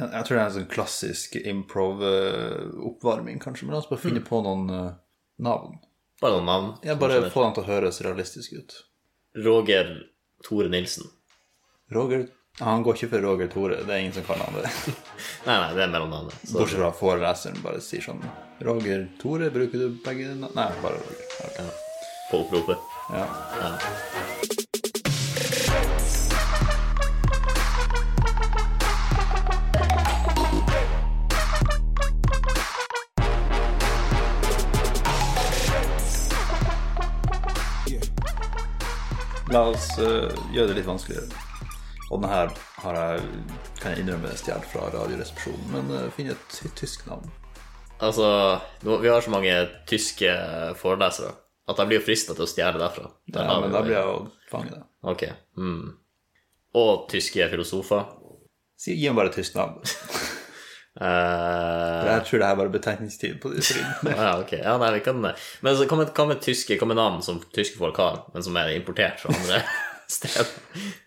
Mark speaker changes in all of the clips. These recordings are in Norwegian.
Speaker 1: Jeg tror det er en sånn klassisk improv-oppvarming, kanskje. Men la oss bare finne på noen eh, navn.
Speaker 2: Bare noen navn.
Speaker 1: Ja, bare få dem til å høres realistiske ut.
Speaker 2: Roger Tore Nilsen.
Speaker 1: Roger Han går ikke for Roger Tore, det er ingen som kaller han det.
Speaker 2: Nei, nei, det er mellomnavnet. Så
Speaker 1: Bortsett fra foreleseren bare sier sånn Roger Tore, bruker du begge na- Nei, bare Roger. Ok.
Speaker 2: på oppropet.
Speaker 1: Ja. La oss eh, gjøre det litt vanskeligere. Og den her har jeg, kan jeg innrømme stjålet fra Radioresepsjonen, men eh, finn et ty- tysk navn.
Speaker 2: Altså, nå, vi har så mange tyske forelesere at jeg blir jo frista til å stjele derfra. Der
Speaker 1: Ja,
Speaker 2: har vi
Speaker 1: Eh, men
Speaker 2: jo
Speaker 1: da blir
Speaker 2: det.
Speaker 1: jeg jo fanget. da.
Speaker 2: Ok. Mm. Og tyske filosofer.
Speaker 1: Si, gi meg bare et tysk navn.
Speaker 2: Eh,
Speaker 1: Jeg tror det her er bare betenkningstid på de stridene.
Speaker 2: ja, ok. Ja, nei, vi kan Men så, hva, med, hva med tyske Hva med navn som tyske folk har, men som er importert fra andre steder?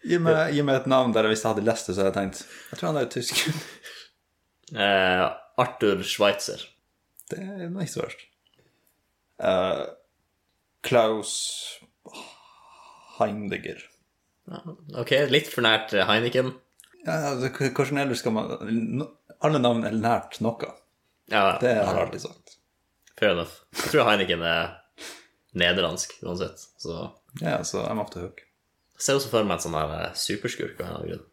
Speaker 1: Gi meg, gi meg et navn der hvis jeg hadde lest det, så hadde jeg tenkt Jeg tror han er tysk.
Speaker 2: Eh, Arthur Schweitzer.
Speaker 1: Det er nå ikke så verst. Eh, Klaus Heindeger.
Speaker 2: Ok, litt for nært Heineken.
Speaker 1: Ja, altså, k- hvordan ellers skal man no- Alle navn er nært noe.
Speaker 2: Ja,
Speaker 1: Det har jeg alltid sagt.
Speaker 2: fair enough. Jeg tror Heineken er nederlandsk uansett. Så
Speaker 1: Ja, så I'm off the hook.
Speaker 2: jeg ser også for meg en sånn her eh, superskurk av en eller annen grunn.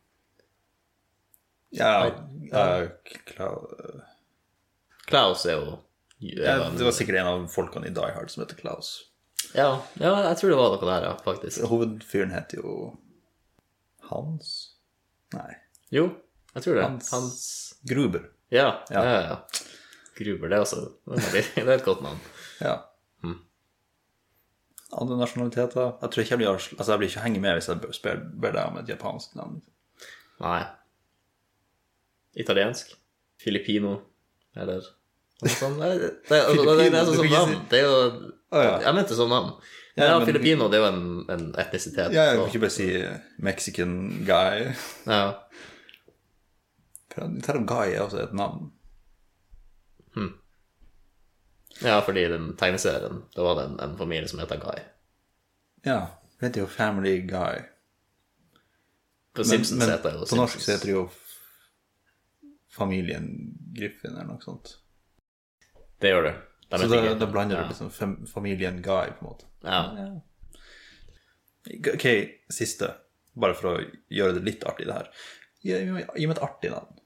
Speaker 1: Ja, ja Klaus
Speaker 2: Klaus er jo er jo
Speaker 1: ja,
Speaker 2: en-
Speaker 1: Det var sikkert en av folkene i Die Hard som heter Klaus.
Speaker 2: ja, ja, jeg tror det var noe der, ja, faktisk.
Speaker 1: Hovedfyren heter jo Hans Nei,
Speaker 2: Jo, jeg tror det.
Speaker 1: Hans-
Speaker 2: Hans
Speaker 1: Gruber.
Speaker 2: Ja, ja, ja. ja. Gruber, det er også Det er et godt navn.
Speaker 1: Ja. Mm. Andre nasjonaliteter Jeg tror ikke jeg blir, altså jeg blir ikke henge med hvis jeg ber, ber deg om et japansk navn.
Speaker 2: Nei. Italiensk? Filippino? Eller noe sånt? Nei, Det, det, det, det, det, er
Speaker 1: Filippino,
Speaker 2: sånn
Speaker 1: du
Speaker 2: som
Speaker 1: fikk ikke
Speaker 2: navn. Det er jo
Speaker 1: Å, ja.
Speaker 2: Jeg mente sånn navn.
Speaker 1: Ja,
Speaker 2: Ja,
Speaker 1: men-
Speaker 2: Filippino det er jo en, en etnisitet.
Speaker 1: Ja, jeg
Speaker 2: så-
Speaker 1: kan ikke bare si Mexican guy.
Speaker 2: ja.
Speaker 1: For jeg tar opp Guy er også et navn.
Speaker 2: ja, fordi i den tegneserien da var det en, en familie som heter Guy.
Speaker 1: Ja. Det heter jo Family Guy.
Speaker 2: På
Speaker 1: Men,
Speaker 2: Simpsons
Speaker 1: men
Speaker 2: heter det jo
Speaker 1: på norsk så
Speaker 2: Simpsons.
Speaker 1: heter det jo Familien Griffin eller noe sånt.
Speaker 2: Det gjør det. De
Speaker 1: Så
Speaker 2: heter
Speaker 1: da,
Speaker 2: ikke-
Speaker 1: da blander
Speaker 2: ja.
Speaker 1: du liksom fam, Familien Guy, på en måte.
Speaker 2: ja.
Speaker 1: Ok, siste. Bare for å gjøre det litt artig, det her. Gi gi meg gi meg et artig navn.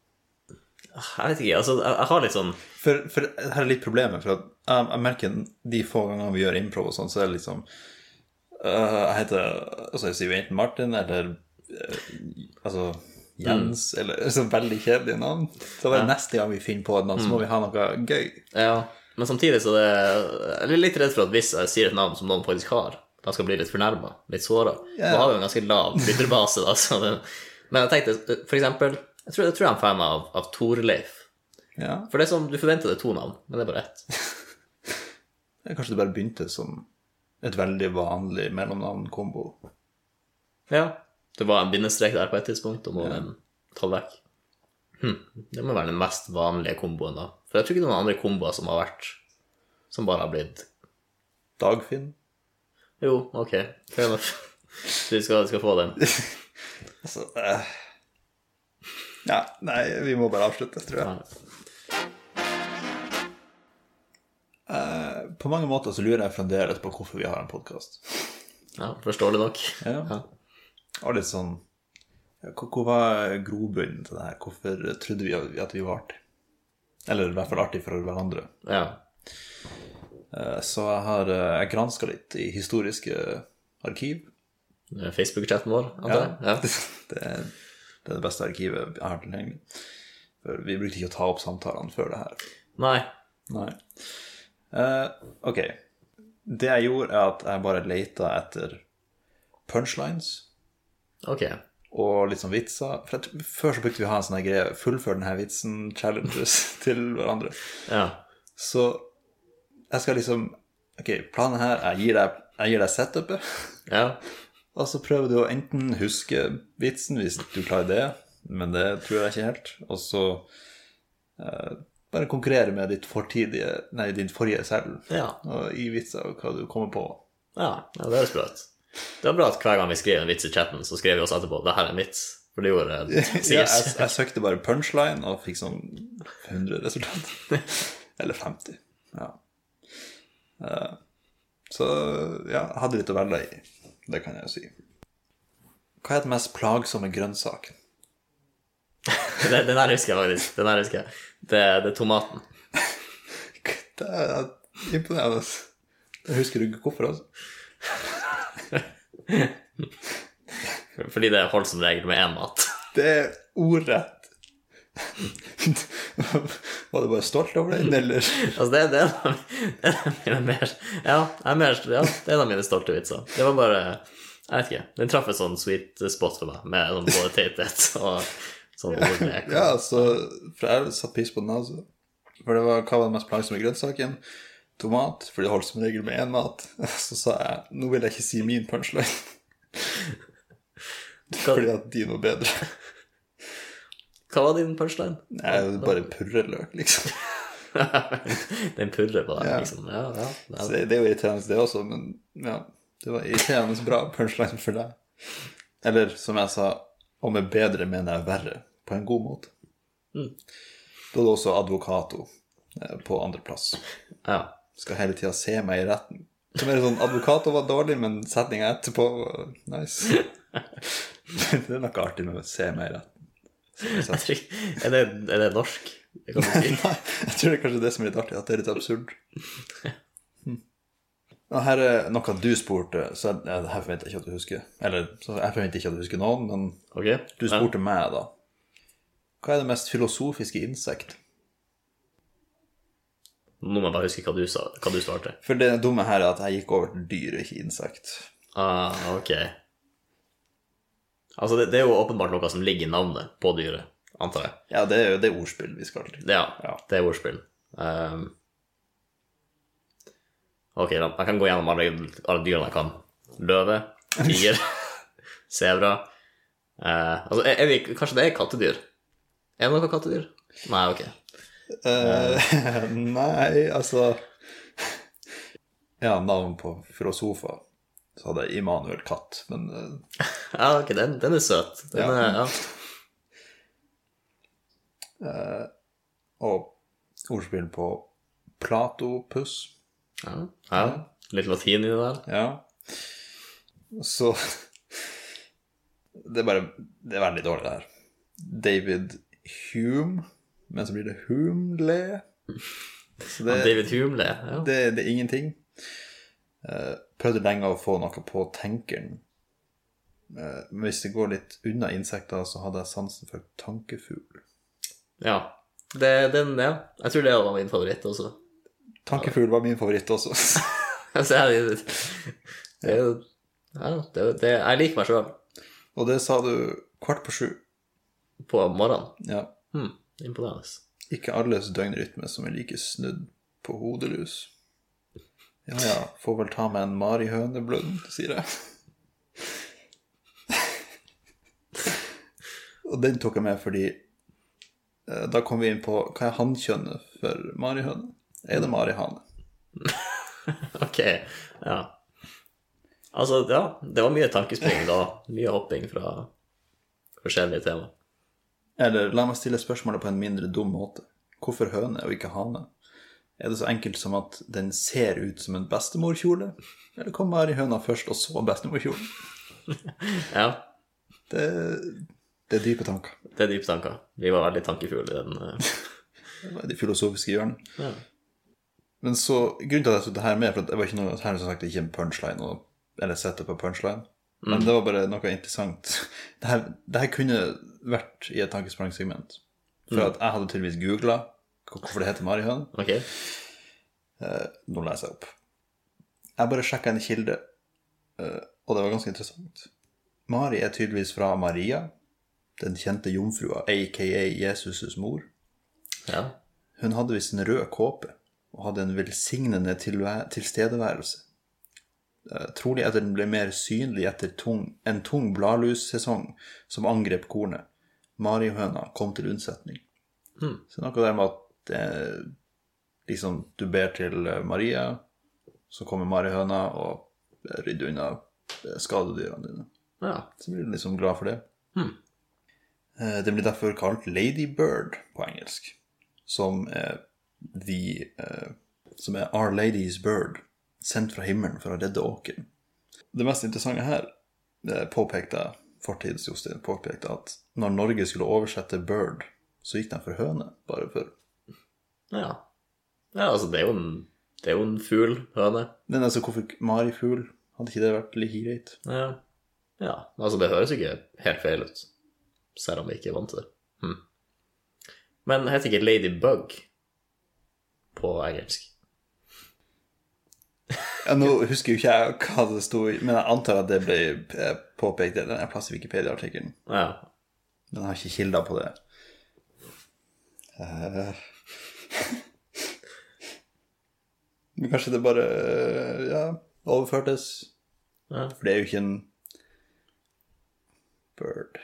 Speaker 2: Jeg vet ikke, altså, jeg, jeg har litt sånn
Speaker 1: For, for her er litt problemet, for at jeg, jeg merker de få gangene vi gjør improv og sånn, så er det liksom øh, Jeg heter altså jeg sier jo enten Martin eller øh, altså Jens, eller så veldig kjedelige navn. Så det er neste gang vi finner på et navn, så må vi ha noe gøy.
Speaker 2: Ja, men samtidig så det, jeg er litt redd for at hvis jeg sier et navn som noen faktisk har, de skal bli litt fornærma, litt såra.
Speaker 1: Ja.
Speaker 2: Da har vi jo en ganske lav lytterbase, da. Så det, men jeg tenkte for eksempel Jeg tror jeg, tror jeg er en fan av, av Torleif.
Speaker 1: Ja,
Speaker 2: For det er sånn, du forventer det er to navn, men det er bare ett.
Speaker 1: Kanskje det bare begynte som et veldig vanlig mellomnavn-kombo.
Speaker 2: Ja. Det var en bindestrek der på et tidspunkt, og nå er den tatt vekk. Hm, det må være den mest vanlige komboen, da. For jeg tror ikke det er noen andre komboer som har vært Som bare har blitt
Speaker 1: Dagfinn.
Speaker 2: Jo, ok, fair enough. Du skal, du skal få den.
Speaker 1: Altså eh. Ja, nei, vi må bare avslutte, tror jeg.
Speaker 2: Ja.
Speaker 1: På mange måter så lurer jeg fremdeles på hvorfor vi har en podkast.
Speaker 2: Ja, forståelig nok.
Speaker 1: Ja. Og litt sånn ja, hvor- Hvor var grobunnen til det her? Hvorfor trodde vi at vi var artig? Eller i hvert fall artig for hverandre.
Speaker 2: Ja.
Speaker 1: Eh, Så jeg har eh, jeg granska litt i historiske arkiv.
Speaker 2: Det er Facebook-chatten vår, antar jeg. Ja.
Speaker 1: Det, er, det er det beste arkivet jeg har tilgjengelig. For vi brukte ikke å ta opp samtalene før det her.
Speaker 2: Nei.
Speaker 1: Nei. Eh, ok. Det jeg gjorde, er at jeg bare leita etter punchlines.
Speaker 2: Ok.
Speaker 1: og litt sånn vitser. For jeg, tror- før så brukte vi å ha en sånn her greie 'fullfør denne vitsen'-challenges til hverandre.
Speaker 2: Ja.
Speaker 1: Så jeg skal liksom Ok, planen her jeg gir deg, jeg gir deg setupet,
Speaker 2: Ja.
Speaker 1: og så prøver du å enten huske vitsen, hvis du klarer det, men det tror jeg ikke helt. Og så eh, bare konkurrere med ditt fortidige, nei, din forrige selv
Speaker 2: Ja.
Speaker 1: og i vitser og hva du kommer på.
Speaker 2: ja. ja det er sprøtt. Det er bra at hver gang vi skriver en vits i chatten, så skrev vi også etterpå 'det her er en vits'. For det gjorde
Speaker 1: Ja,
Speaker 2: sikkert
Speaker 1: jeg, jeg søkte bare punchline og fikk sånn 100 resultat. Eller 50. Ja. Eh, Så ja, jeg hadde litt å velge i. Det kan jeg jo si. Hva er den mest plagsomme grønnsaken?
Speaker 2: Den den her husker jeg faktisk. Den her husker jeg. Det, det er tomaten.
Speaker 1: Det er imponerende. Jeg husker du ikke hvorfor, altså?
Speaker 2: Fordi det holder som regel med én mat.
Speaker 1: Det er ordrett. Var du bare stolt over den, eller?
Speaker 2: Altså, det, det, er en av- det er en av mine mer Ja, jeg er mer, ja, det er en av mine stolte vitser. Det var bare Jeg vet ikke. Den traff en sånn sweet spot for meg, med sånn både teithet og sånn ordlek.
Speaker 1: Ja, altså, for jeg satt pris på den, altså. For det var, hva var den mest plagsomme grønnsaken? Tomat, for de holdt som regel med én mat. Så sa jeg nå vil jeg ikke si min punchline,
Speaker 2: Hva,
Speaker 1: fordi at din var bedre.
Speaker 2: hva var din punchline?
Speaker 1: Jeg bare purreløk, liksom.
Speaker 2: Den purrer på deg,
Speaker 1: Ja.
Speaker 2: liksom. Ja, ja.
Speaker 1: Så
Speaker 2: Det,
Speaker 1: det, det er jo irriterende, det også, men ja. Det var irriterende bra punchline for deg. Eller som jeg sa, og med bedre mener jeg verre, på en god måte.
Speaker 2: Mm.
Speaker 1: Da er det også advokato eh, på andreplass.
Speaker 2: ja.
Speaker 1: skal hele tida se meg i retten. Som er sånn Advokater var dårlig, men setninga etterpå var nice. Det er noe artig med å se meg i retten.
Speaker 2: Jeg tror ikke- Er, det, er det norsk? Det kan man si.
Speaker 1: Nei, jeg tror det er kanskje det som er litt artig, at det er litt absurd. Hm. Og her er noe du spurte, så jeg, jeg, her forventer jeg ikke at du husker. Eller så jeg forventer ikke at du husker noen, men
Speaker 2: Ok?
Speaker 1: du spurte meg, da. Hva er det mest filosofiske insekt?
Speaker 2: Nå må jeg bare huske hva du sa, hva du svarte.
Speaker 1: For det dumme her er at jeg gikk over til dyr, ikke insekt.
Speaker 2: Ah, ok. Altså, det, det er jo åpenbart noe som ligger i navnet på dyret, antar jeg.
Speaker 1: Ja, det er jo det er ordspill vi skal til.
Speaker 2: Det, ja,
Speaker 1: Ja.
Speaker 2: det er ordspill. Ehm. ok, da, jeg kan gå gjennom alle, alle dyrene jeg kan. Løve, tiger, sebra. Eh, altså, er, er vi, kanskje det er kattedyr? Er det noe kattedyr? Nei, ok.
Speaker 1: Eh, nei, altså Ja, navn på filosofer. Så hadde jeg Immanuel Katt, men eh,
Speaker 2: Ja, ok, den, den er søt. Den
Speaker 1: Ja.
Speaker 2: er, ja.
Speaker 1: Og ordspill på Platopus.
Speaker 2: Ja. ja. Litt latin i det der.
Speaker 1: Ja. Så Det er bare Det er veldig dårlig, det her. David Hume, men så blir det Humle. Så det,
Speaker 2: David Humle. Ja.
Speaker 1: det, det er ingenting. Eh, prøvde lenge å få noe på tenkeren. Eh, men hvis det går litt unna insekter, så hadde jeg sansen for tankefugl.
Speaker 2: ja. Det, den, ja. Jeg tror det var min favoritt også.
Speaker 1: Tankefugl var min favoritt også.
Speaker 2: Altså, jeg, det er jo ja, det, er jo- det, Jeg liker meg sjøl
Speaker 1: Og det sa du kvart på sju.
Speaker 2: på morgenen.
Speaker 1: Ja.
Speaker 2: Hmm, imponerende.
Speaker 1: Ikke alles døgnrytme som er like snudd på hodelus. Ja ja, får vel ta med en marihøneblund, sier jeg. Og den tok jeg med fordi eh, da kom vi inn på hva er hannkjønnet for marihøne? Er det marihane?
Speaker 2: Ok, ja. Altså, ja, det var mye tankespring da. Mye hopping fra forskjellige tema.
Speaker 1: Eller la meg stille spørsmålet på en mindre dum måte. Hvorfor høne og ikke hane? Er det så enkelt som at den ser ut som en bestemorkjole? Eller kom marihøna først, og så bestemorkjolen?
Speaker 2: Ja,
Speaker 1: Det, det er dype tanker.
Speaker 2: det er dype tanker. Vi var veldig tankefulle i den. eh.
Speaker 1: Det var det filosofiske hjørnet.
Speaker 2: Ja.
Speaker 1: Men så, grunnen til at jeg tok det her med, for at det var ikke noe, her er som sagt ikke en punchline, og, eller setup på punchline, men det var bare noe interessant. Det her, det her kunne vært i et tankesprangsegment. For at jeg hadde tydeligvis googlet hvorfor det heter marihøn.
Speaker 2: Ok,
Speaker 1: Nå leser jeg opp. Jeg bare sjekka en kilde, eh, og det var ganske interessant. Mari er tydeligvis fra Maria, den kjente jomfrua, aka Jesus' mor.
Speaker 2: ja.
Speaker 1: Hun hadde visst en rød kåpe og hadde en velsignende tilvæ- tilstedeværelse. Eh, Trolig at den ble mer synlig etter tung, en tung bladlussesong som angrep kornet, Marihøna kom til unnsetning.
Speaker 2: Mm.
Speaker 1: Så noe der med at eh, liksom du ber til eh, Maria, så kommer Marihøna og eh, rydder unna eh, skadedyrene dine.
Speaker 2: Ja.
Speaker 1: Så blir du liksom glad for det.
Speaker 2: Mm.
Speaker 1: Eh, det blir derfor kalt Ladybird på engelsk, som er, the, eh, som er Our Lady's Bird, sendt fra himmelen for å redde åkeren. Det mest interessante her eh, påpekte fortidsjustin påpekte at når Norge skulle oversette 'bird', så gikk de for høne, bare for
Speaker 2: ja. Ja, altså, det er jo en, det er jo en fugl, høne.
Speaker 1: Men altså, hvorfor marifugl? Hadde ikke det vært like greit?
Speaker 2: Ja. ja. Altså, det høres jo ikke helt feil ut, selv om vi ikke er vant til det. Hm. Men heter ikke Ladybug på engelsk?
Speaker 1: Ja, nå husker jo ikke jeg hva det sto i, men jeg antar at det ble eh, påpekt i den her plass i Wikipedia-artikkelen.
Speaker 2: Ja.
Speaker 1: Men jeg har ikke kilder på det. Eh. Men kanskje det bare eh, ja, overførtes?
Speaker 2: ja.
Speaker 1: For det er jo ikke en bird.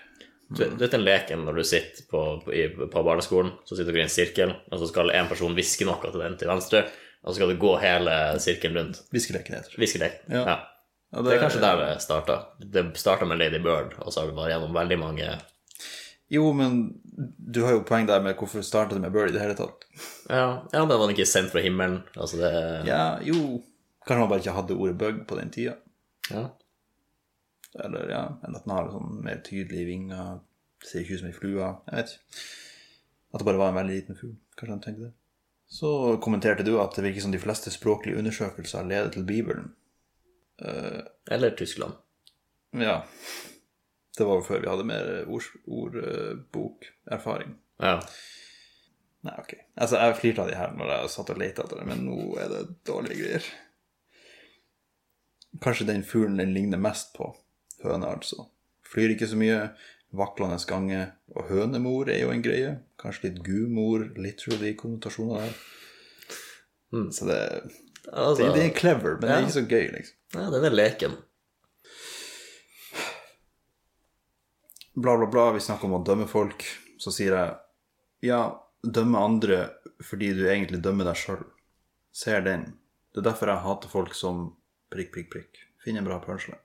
Speaker 2: Du, du vet den leken når du sitter på, på, i, på barneskolen, så sitter du i en sirkel, og så skal en person hviske noe til den til venstre, og så skal du gå hele sirkelen rundt.
Speaker 1: Viskeleken heter det.
Speaker 2: Viskelek.
Speaker 1: Ja. Ja,
Speaker 2: Det er kanskje der det starta. Det starta med Lady Bird, og så har du vært gjennom veldig mange
Speaker 1: Jo, men du har jo poeng der med hvorfor startet det med bird i det hele tatt.
Speaker 2: Ja, ja den var den ikke sendt fra himmelen. Altså det
Speaker 1: Ja, jo Kanskje man bare ikke hadde ordet bug på den tida.
Speaker 2: ja.
Speaker 1: Eller ja, eller at den har sånn mer tydelige vinger. Ser ikke ut som ei flue. Jeg vet ikke. At det bare var en veldig liten fugl. Kanskje han tenkte det. Så kommenterte du at det virker som de fleste språklige undersøkelser leder til Bibelen.
Speaker 2: Eller Tyskland.
Speaker 1: Ja. Det var jo før vi hadde mer ordbokerfaring.
Speaker 2: Ja.
Speaker 1: Nei, ok. Altså, jeg flirte av de her når jeg satt og lette etter det, men nå er det dårlige greier. Kanskje den fuglen den ligner mest på. Høne, altså. Flyr ikke så mye, vaklende gange, og hønemor er jo en greie. Kanskje litt gudmor, literally konnotasjoner der.
Speaker 2: Mm.
Speaker 1: Så det,
Speaker 2: Altså,
Speaker 1: Hmm. det, det er clever, men det
Speaker 2: Ja.
Speaker 1: er ikke så gøy, liksom.
Speaker 2: ja, den er leken.
Speaker 1: bla, bla, bla, vi snakker om å dømme folk, så sier jeg ja, dømme andre fordi du egentlig dømmer deg sjøl. Ser den. Det er derfor jeg hater folk som prikk, prikk, prikk. Finn en bra punchline.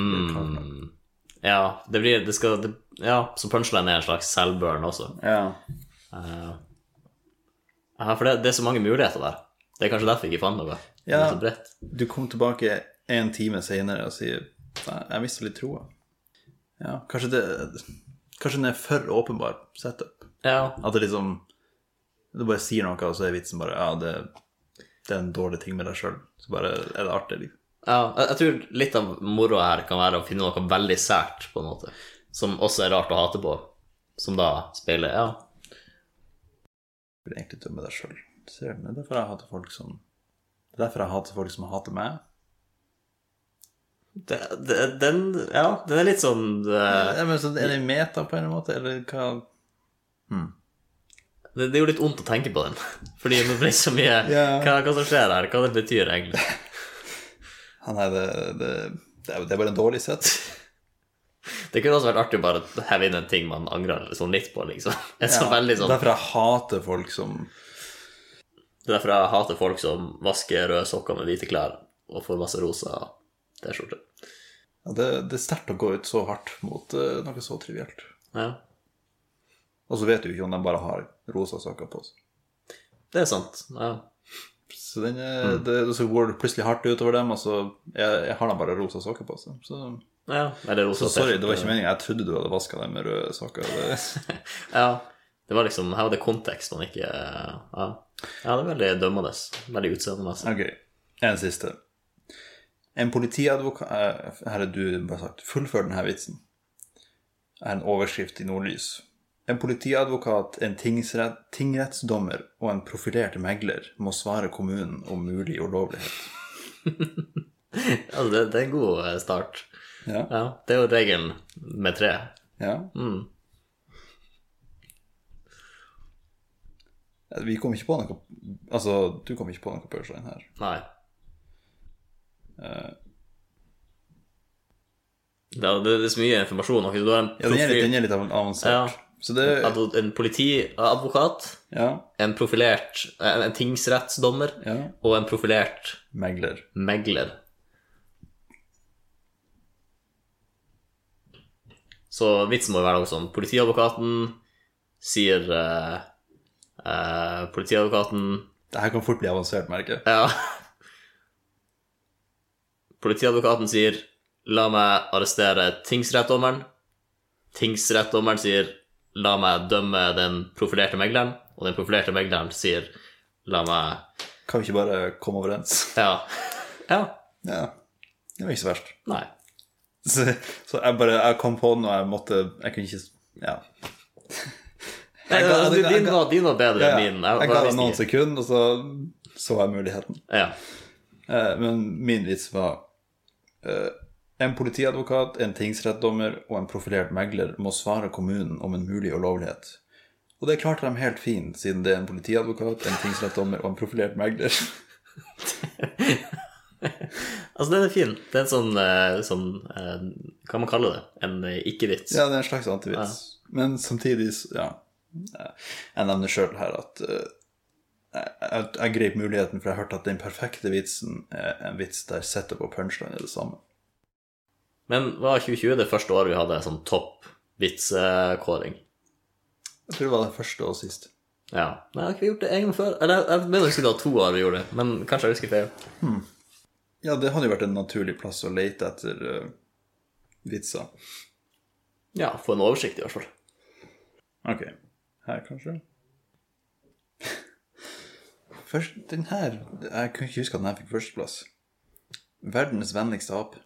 Speaker 2: Mm. Ja, det blir det skal, det, Ja, så punchline er en slags selvburn også.
Speaker 1: Ja.
Speaker 2: Ja, for det, det er så mange muligheter der. Det er kanskje derfor jeg ikke fant noe. Det er
Speaker 1: Ja.
Speaker 2: så bredt.
Speaker 1: Du kom tilbake en time senere og sier nei, jeg mister litt troa. Ja, kanskje det Kanskje den er for åpenbar setup.
Speaker 2: Ja.
Speaker 1: At det liksom Du bare sier noe, og så er vitsen bare ja, det, det er en dårlig ting med deg sjøl. Så bare er det artig. Liksom.
Speaker 2: ja jeg, jeg tror litt av moroa her kan være å finne noe veldig sært, på en måte, som også er rart å hate på, som da speiler Ja.
Speaker 1: burde egentlig dømme deg sjøl. Det er derfor jeg hater folk som Det er derfor jeg hater folk som hater meg.
Speaker 2: Det, det, den Ja, den er litt sånn eh,
Speaker 1: Ja, men så Er det meta på en eller annen måte, eller hva
Speaker 2: Det, det er jo litt ondt å tenke på den. Fordi det blir så mye
Speaker 1: Ja.
Speaker 2: hva, hva som skjer her, hva det betyr egentlig.
Speaker 1: Ja, Ah, Nei, det, det, det, er, det er bare en dårlig sett.
Speaker 2: Det kunne også vært artig å bare heve inn en ting man angrer sånn litt på, liksom. Det er så
Speaker 1: Ja,
Speaker 2: veldig sånn,
Speaker 1: Derfor jeg hater folk som
Speaker 2: det er derfor jeg hater folk som vasker røde sokker med hvite klær og får masse rosa T-skjorter.
Speaker 1: ja, det, det er sterkt å gå ut så hardt mot eh, noe så trivielt.
Speaker 2: Ja,
Speaker 1: Og så vet du jo ikke om de bare har rosa sokker på seg.
Speaker 2: det er sant. Ja.
Speaker 1: Så den er,
Speaker 2: Mm.
Speaker 1: det, så går det plutselig hardt utover dem, og så jeg, jeg har de bare rosa sokker på seg. Så,
Speaker 2: ja. Eller rosa
Speaker 1: så sorry, det var
Speaker 2: T-skjorte.
Speaker 1: ikke meninga. Jeg trodde du hadde vaska dem med røde sokker. Det,
Speaker 2: Ja, det var liksom Her var det kontekst man ikke Ja, ja det er veldig dømmende. Veldig altså. utseendemessig.
Speaker 1: Ok, en siste. En politiadvokat eh, Her er du bare sagt. Fullfør denne vitsen. Er en overskrift i Nordlys. En politiadvokat, en tingsrett, tingrettsdommer og en profilert megler må svare kommunen om mulig ulovlighet.
Speaker 2: Ja, det, det er en god eh, start.
Speaker 1: Ja.
Speaker 2: Ja, det er jo regelen med tre.
Speaker 1: ja.
Speaker 2: Mm.
Speaker 1: Vi kom ikke på noe Altså, du kom ikke på noe punchline Eh, her.
Speaker 2: Nei. Det er, det er så mye informasjon. og Du har en,
Speaker 1: Ja, den er litt,
Speaker 2: profil,
Speaker 1: den er litt avansert.
Speaker 2: Ja.
Speaker 1: Så det
Speaker 2: advo- en politiadvokat,
Speaker 1: Ja.
Speaker 2: en profilert en, en tingsrettsdommer
Speaker 1: ja.
Speaker 2: og en profilert
Speaker 1: Megler.
Speaker 2: megler. Så vitsen må jo være noe sånn Politiadvokaten sier eh, eh, Politiadvokaten
Speaker 1: Det her kan fort bli avansert, merker jeg.
Speaker 2: Ja. Politiadvokaten sier 'la meg arrestere tingsrettdommeren'. Tingsrettdommeren sier 'la meg dømme den profilerte megleren'. Og den profilerte megleren sier 'la meg
Speaker 1: Kan vi ikke bare komme overens?
Speaker 2: Ja. Ja.
Speaker 1: Ja. Det var ikke så verst.
Speaker 2: Nei.
Speaker 1: Så, så jeg bare jeg kom på den, og jeg måtte Jeg kunne ikke Ja.
Speaker 2: Nei,
Speaker 1: Jeg ga-
Speaker 2: altså,
Speaker 1: jeg ga-
Speaker 2: din, var, din var bedre
Speaker 1: ja,
Speaker 2: enn min. Jeg,
Speaker 1: jeg ga
Speaker 2: jeg
Speaker 1: det noen
Speaker 2: visste ikke.
Speaker 1: sekunder, og så så jeg muligheten.
Speaker 2: Ja.
Speaker 1: Eh, Men min vits var eh, En politiadvokat, en tingsrettdommer og en profilert megler må svare kommunen om en mulig ulovlighet. Og det klarte de helt fint, siden det er en politiadvokat, en tingsrettdommer og en profilert megler.
Speaker 2: Altså, den er fin. Det er en sånn, eh, sånn eh, Hva man kaller det? En eh, ikke-vits.
Speaker 1: Ja, det er en slags antivits. Men samtidig, så- ja eh, Jeg nevner sjøl her at eh, jeg, jeg, jeg grep muligheten, for jeg hørte at den perfekte vitsen er en vits der setup og punchline er det samme.
Speaker 2: Men var 2020 det første året vi hadde sånn topp vitsekåring?
Speaker 1: Jeg tror det var den første og sist.
Speaker 2: Ja. Nei, jeg har ikke gjort det en gang før. Eller jeg- jeg mener jeg skulle ha to år vi gjorde det, men kanskje jeg husker feil.
Speaker 1: Ja, det hadde jo vært en naturlig plass å lete etter eh, vitser.
Speaker 2: Ja, få en oversikt i hvert fall.
Speaker 1: Ok. Her, kanskje? Først, den her Jeg kunne ikke huske at den her fikk førsteplass. Verdens vennligste ape.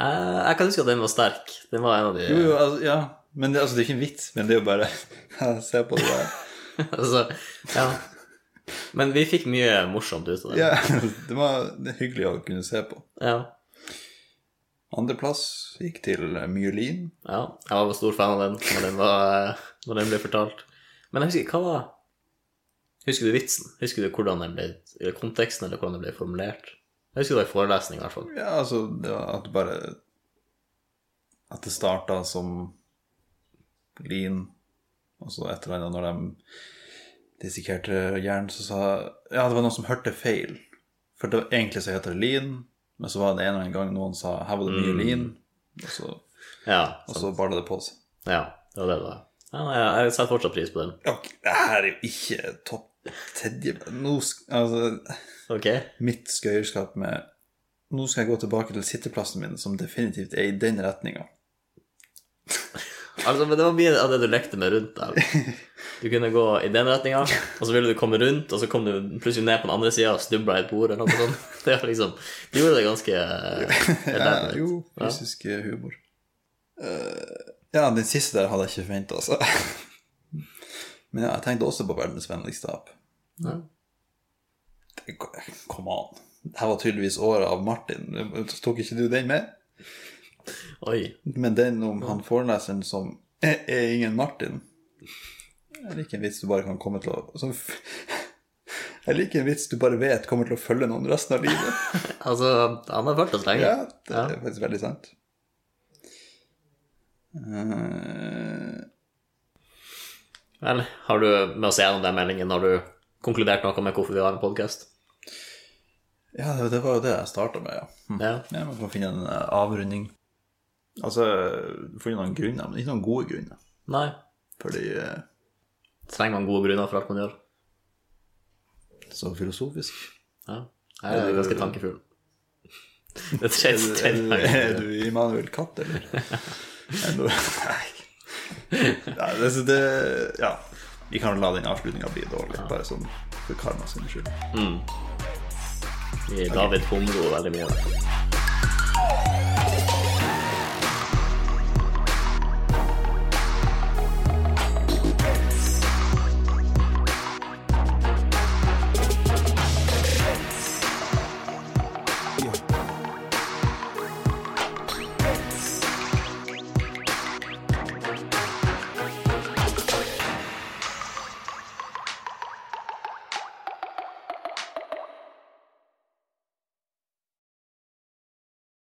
Speaker 2: Eh, Jeg, jeg kan huske at den var sterk. Den var en av de
Speaker 1: Jo, jo, altså, ja. Men det, altså, det er ikke en vits, men det er jo bare Se på det der.
Speaker 2: altså, ja. Men vi fikk mye morsomt ut av det.
Speaker 1: Ja, det var det er hyggelig å kunne se på.
Speaker 2: Ja.
Speaker 1: Andreplass gikk til Myelin.
Speaker 2: ja. Jeg var stor fan av den når den, var, eh, når den ble fortalt. Men jeg husker ikke hva var Husker du vitsen? Husker du hvordan den ble, eller konteksten, eller hvordan den ble formulert? Jeg husker det var i forelesning, i hvert fall.
Speaker 1: Ja, altså det var at bare At det starta som lin, og så et eller annet når de dissekerte hjernen, så sa Ja, det var noen som hørte feil. For det, var- egentlig så heter det lin, men så var det en eller annen gang noen sa 'her var det mye
Speaker 2: Mm.
Speaker 1: lin', og så,
Speaker 2: Ja,
Speaker 1: og så balla det på seg.
Speaker 2: ja det var det det var. Ja, nei, jeg setter fortsatt pris på den.
Speaker 1: Ja, det her er jo ikke topp tredje Nå sk- Altså,
Speaker 2: Ok?
Speaker 1: mitt skøyerskap med Nå skal jeg gå tilbake til sitteplassen min, som definitivt er i den retninga.
Speaker 2: Altså, men Det var mye av det du lekte med rundt der. Du kunne gå i den retninga, og så ville du komme rundt, og så kom du plutselig ned på den andre sida og snubla i et bord eller noe sånt. Det var liksom, Du gjorde det ganske eh,
Speaker 1: Ja,
Speaker 2: elendig.
Speaker 1: jo,
Speaker 2: Ja.
Speaker 1: fysisk eh, humor. Eh, ja, den siste der hadde jeg ikke forventa, altså. Men ja, jeg tenkte også på verdens vennligste app.
Speaker 2: Ja.
Speaker 1: Det- Kom an. Dette var tydeligvis året av Martin. Tok ikke du den med?
Speaker 2: Oi.
Speaker 1: Men den om han foreleseren som er, er ingen Martin Jeg liker en vits du bare kan komme til å som, f- Jeg liker en vits du bare vet kommer til å følge noen resten av livet.
Speaker 2: Altså, han har fulgt oss lenge.
Speaker 1: Ja, det
Speaker 2: Ja.
Speaker 1: er faktisk veldig sant. Eh,
Speaker 2: Vel, har du med å se gjennom den meldingen, har du konkludert noe med hvorfor vi har en podkast?
Speaker 1: ja, det, det var jo det jeg starta med, ja. Hm.
Speaker 2: Ja.
Speaker 1: ja. Man får finne en eh, avrunding. Altså finne noen grunner, men ikke noen gode grunner.
Speaker 2: Nei.
Speaker 1: Fordi eh,
Speaker 2: Trenger man gode grunner for alt man gjør?
Speaker 1: så filosofisk.
Speaker 2: Ja. Jeg er ganske tankefugl. Det er
Speaker 1: Er du, er, du, er
Speaker 2: tredje
Speaker 1: du Immanuel Katt, eller? Er du, nei. nei det, så det, ja. Vi kan la den avslutninga bli dårlig, bare sånn for karma sin skyld.
Speaker 2: David Humro veldig mye.